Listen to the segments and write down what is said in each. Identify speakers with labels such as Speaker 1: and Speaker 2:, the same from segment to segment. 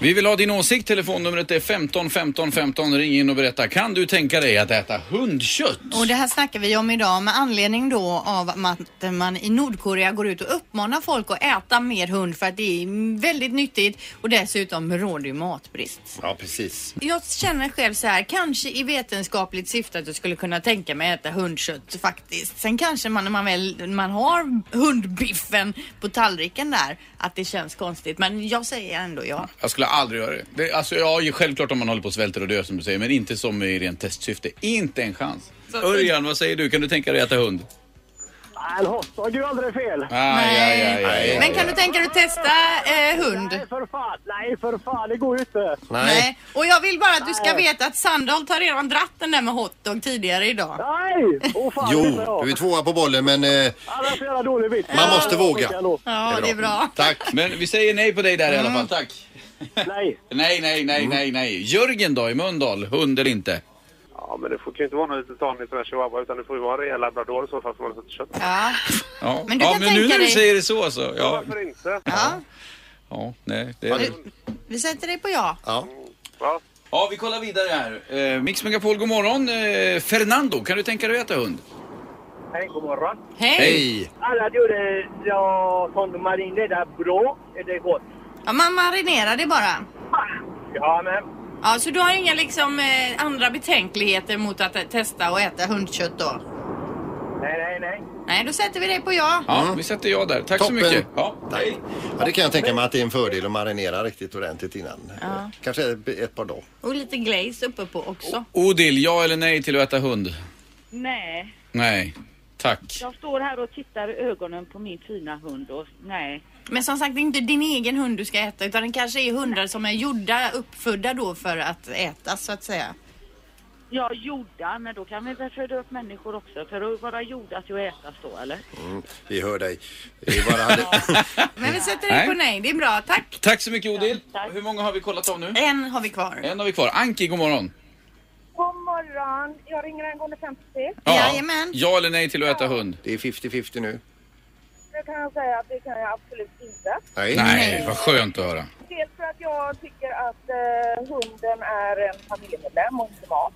Speaker 1: Vi vill ha din åsikt. Telefonnumret är 15 15 15. Ring in och berätta. Kan du tänka dig att äta hundkött?
Speaker 2: Och det här snackar vi om idag med anledning då av att man i Nordkorea går ut och uppmanar folk att äta mer hund för att det är väldigt nyttigt och dessutom råder ju matbrist.
Speaker 1: Ja, precis.
Speaker 2: Jag känner själv så här, kanske i vetenskapligt syfte att jag skulle kunna tänka mig att äta hundkött faktiskt. Sen kanske man när man väl man har hundbiffen på tallriken där att det känns konstigt. Men jag säger ändå ja.
Speaker 1: Jag skulle aldrig göra det. det alltså, ja, självklart om man håller på och svälter och dör som du säger, men inte som i rent testsyfte. Inte en chans. Örjan, vad säger du? Kan du tänka dig att äta hund?
Speaker 3: En hotdog är ju aldrig fel.
Speaker 1: Aj, aj, aj, aj, aj.
Speaker 2: Men kan du tänka dig att testa eh, hund?
Speaker 3: Nej för fan, nej för fan, det går ju inte.
Speaker 2: Nej. Och jag vill bara att du ska veta att Sandholt har redan dratt den där med hotdog tidigare idag.
Speaker 3: Nej! Åh fan, det är
Speaker 4: Jo,
Speaker 3: bra.
Speaker 4: du är tvåa på bollen men eh,
Speaker 3: Alla så jävla dålig vits.
Speaker 4: Man måste
Speaker 3: Ja,
Speaker 4: våga.
Speaker 3: jag lovar.
Speaker 2: Ja, det är bra.
Speaker 4: tack.
Speaker 1: Men vi säger nej på dig där i alla fall.
Speaker 2: Mm.
Speaker 1: Tack.
Speaker 3: Nej.
Speaker 1: Nej, nej, nej, nej, nej. Jörgen då i Mölndal, hund eller inte?
Speaker 5: Ja, men det får kan ju inte vara någon liten tanig sån här chihuahua utan det får ju vara en rejäl labrador i så fall som har lite kött.
Speaker 2: Ja.
Speaker 1: Ja,
Speaker 2: Men du
Speaker 1: ja,
Speaker 2: kan
Speaker 1: men nu
Speaker 2: tänka
Speaker 1: när du
Speaker 2: dig-
Speaker 1: säger det så så. Ja,
Speaker 5: Varför inte?
Speaker 2: ja.
Speaker 1: ja nej. Det...
Speaker 2: Vi, vi sätter dig på ja.
Speaker 4: Ja.
Speaker 5: Ja.
Speaker 1: Ja, vi kollar vidare här. Eh, Mix Megapol, god morgon. Eh, Fernando, kan du tänka dig att äta hund?
Speaker 3: Hej, god morgon.
Speaker 2: Hej!
Speaker 4: Hej!
Speaker 3: Alla gjorde jag som marinledare bra. Är det gott?
Speaker 2: Ja, man marinerar det bara.
Speaker 3: Ja, men.
Speaker 2: Ja, så du har inga liksom eh, andra betänkligheter mot att eh, testa och äta hundkött då?
Speaker 3: Nej, nej, nej.
Speaker 2: Nej, då sätter vi dig på ja.
Speaker 1: Ja,
Speaker 4: Mm.
Speaker 1: vi sätter ja där. Tack
Speaker 4: Toppen.
Speaker 1: så mycket. Ja.
Speaker 4: Ja, det kan jag tänka mig att det är en fördel att marinera riktigt ordentligt innan. Eh, Kanske ett- ett par dagar.
Speaker 2: Och lite glaze uppe på också.
Speaker 1: Odil, ja eller nej till att äta hund?
Speaker 6: Nej,
Speaker 1: Nej. Tack.
Speaker 6: jag står här och tittar i ögonen på min fina hund och nej.
Speaker 2: Men som sagt, det är inte din egen hund du ska äta utan den kanske är hundar som är gjorda, uppfödda då för att ätas så att säga.
Speaker 6: Ja, jordar, men då kan vi väl föda upp människor också för att vara jordas och ätas då, eller?
Speaker 4: Vi hör dig. Vi bara hade...
Speaker 2: Men vi sätter dig
Speaker 1: Nej.
Speaker 2: på nej, det är bra. Tack!
Speaker 1: Tack så mycket Odil.
Speaker 6: tack.
Speaker 1: Hur många har vi kollat av nu?
Speaker 2: En har vi kvar.
Speaker 1: En har vi kvar. Anki, god morgon.
Speaker 7: God morgon. Jag ringer angående 50.
Speaker 2: Jajamän.
Speaker 1: Ja eller nej till att äta hund?
Speaker 4: Det är 50-50 nu.
Speaker 7: Nu kan jag säga att det kan jag absolut inte.
Speaker 4: Nej.
Speaker 1: Nej, vad skönt att höra.
Speaker 7: Dels för att jag tycker att eh, hunden är en familjemedlem och inte mat.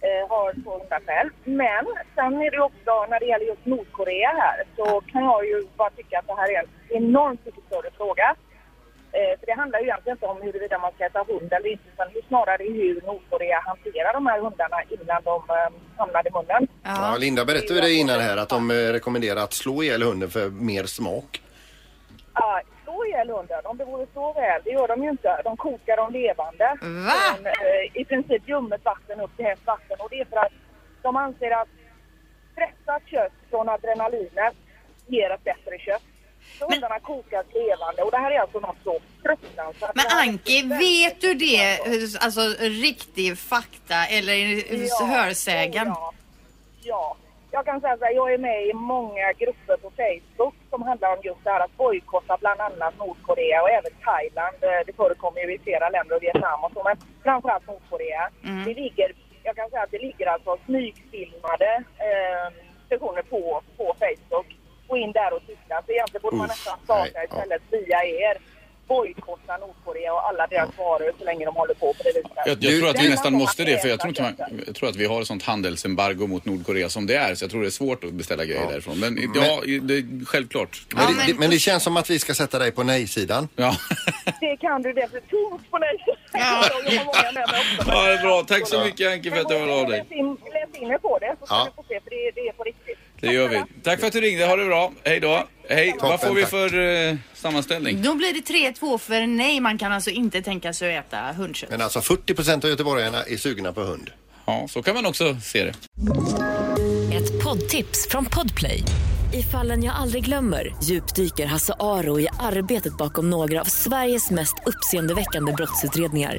Speaker 7: Eh, har två hundar själv. Men sen är det ju också, när det gäller just Nordkorea här, så kan jag ju bara tycka att det här är en enormt mycket större fråga. Eh, för det handlar ju egentligen inte om huruvida man ska äta hund eller inte, utan det är snarare hur Nordkorea hanterar de här hundarna innan de eh, hamnar i munnen.
Speaker 4: Ja, Linda berättade ju det innan här att de eh, rekommenderar att slå ihjäl hunden för mer smak.
Speaker 7: Ja, slå ihjäl hunden om det vore så väl. Det gör de ju inte. De kokar dem levande.
Speaker 2: Va?
Speaker 7: Från, eh, I princip ljummet vatten upp till hett vatten. Och det är för att de anser att stressat kött från adrenalinet ger ett bättre kött. Så
Speaker 2: Men-
Speaker 7: hundarna kokas levande. Och det här är alltså något så fruktansvärt.
Speaker 2: Men
Speaker 7: Det här är
Speaker 2: Anki,
Speaker 7: väldigt-
Speaker 2: vet du det? Alltså riktig fakta eller ja, hörsägen?
Speaker 7: Ja, ja. Jag kan säga så här, jag är med i många grupper på Facebook som handlar om just det här att bojkotta bland annat Nordkorea och även Thailand. Eh, Det förekommer ju i flera länder och Vietnam och så, men framförallt Nordkorea.
Speaker 4: Mm.
Speaker 7: Det ligger, jag kan säga att det ligger alltså smygfilmade eh, sessioner på, på Facebook. Gå in där och titta. Så egentligen borde man
Speaker 4: Uff,
Speaker 7: nästan starta
Speaker 4: nej, ja.
Speaker 7: istället via er bojkotta Nordkorea och alla deras varor så länge de håller på på det viset.
Speaker 1: Jag, jag tror att vi
Speaker 7: Den
Speaker 1: nästan
Speaker 7: har
Speaker 1: måste det för jag
Speaker 7: ätit
Speaker 1: tror, inte man,
Speaker 7: köttet.
Speaker 1: jag tror att vi har ett sånt handelsembargo mot Nordkorea som det är så jag tror det är svårt att beställa grejer
Speaker 4: Ja.
Speaker 1: därifrån. Men ja, det är självklart.
Speaker 4: Men,
Speaker 2: Ja,
Speaker 4: det,
Speaker 2: men-
Speaker 4: det, men det känns som att vi ska sätta dig på nej-sidan.
Speaker 1: Ja.
Speaker 7: Det kan du definitivt på dig.
Speaker 2: Ja.
Speaker 7: Jag har många med mig också.
Speaker 1: ja, det är bra. Tack så mycket Anki för att du hörde av dig.
Speaker 7: Läs in, läs in er på det så ska
Speaker 4: Ja.
Speaker 7: du få se för det, det är på riktigt.
Speaker 1: Det gör vi. Tack för att du ringde. Ha det bra. Hej då. Hej. Vad
Speaker 4: Toppen,
Speaker 1: får vi
Speaker 4: tack.
Speaker 1: för eh, sammanställning?
Speaker 2: Då blir det 3-2 för nej. Man kan alltså inte tänka sig att äta hundkött.
Speaker 4: Men alltså 40 procent av göteborgarna är sugna på hund.
Speaker 1: Ja, så kan man också se det.
Speaker 8: Ett poddtips från Podplay. I fallen jag aldrig glömmer djupdyker Hasse Aro i arbetet bakom några av Sveriges mest uppseendeväckande brottsutredningar.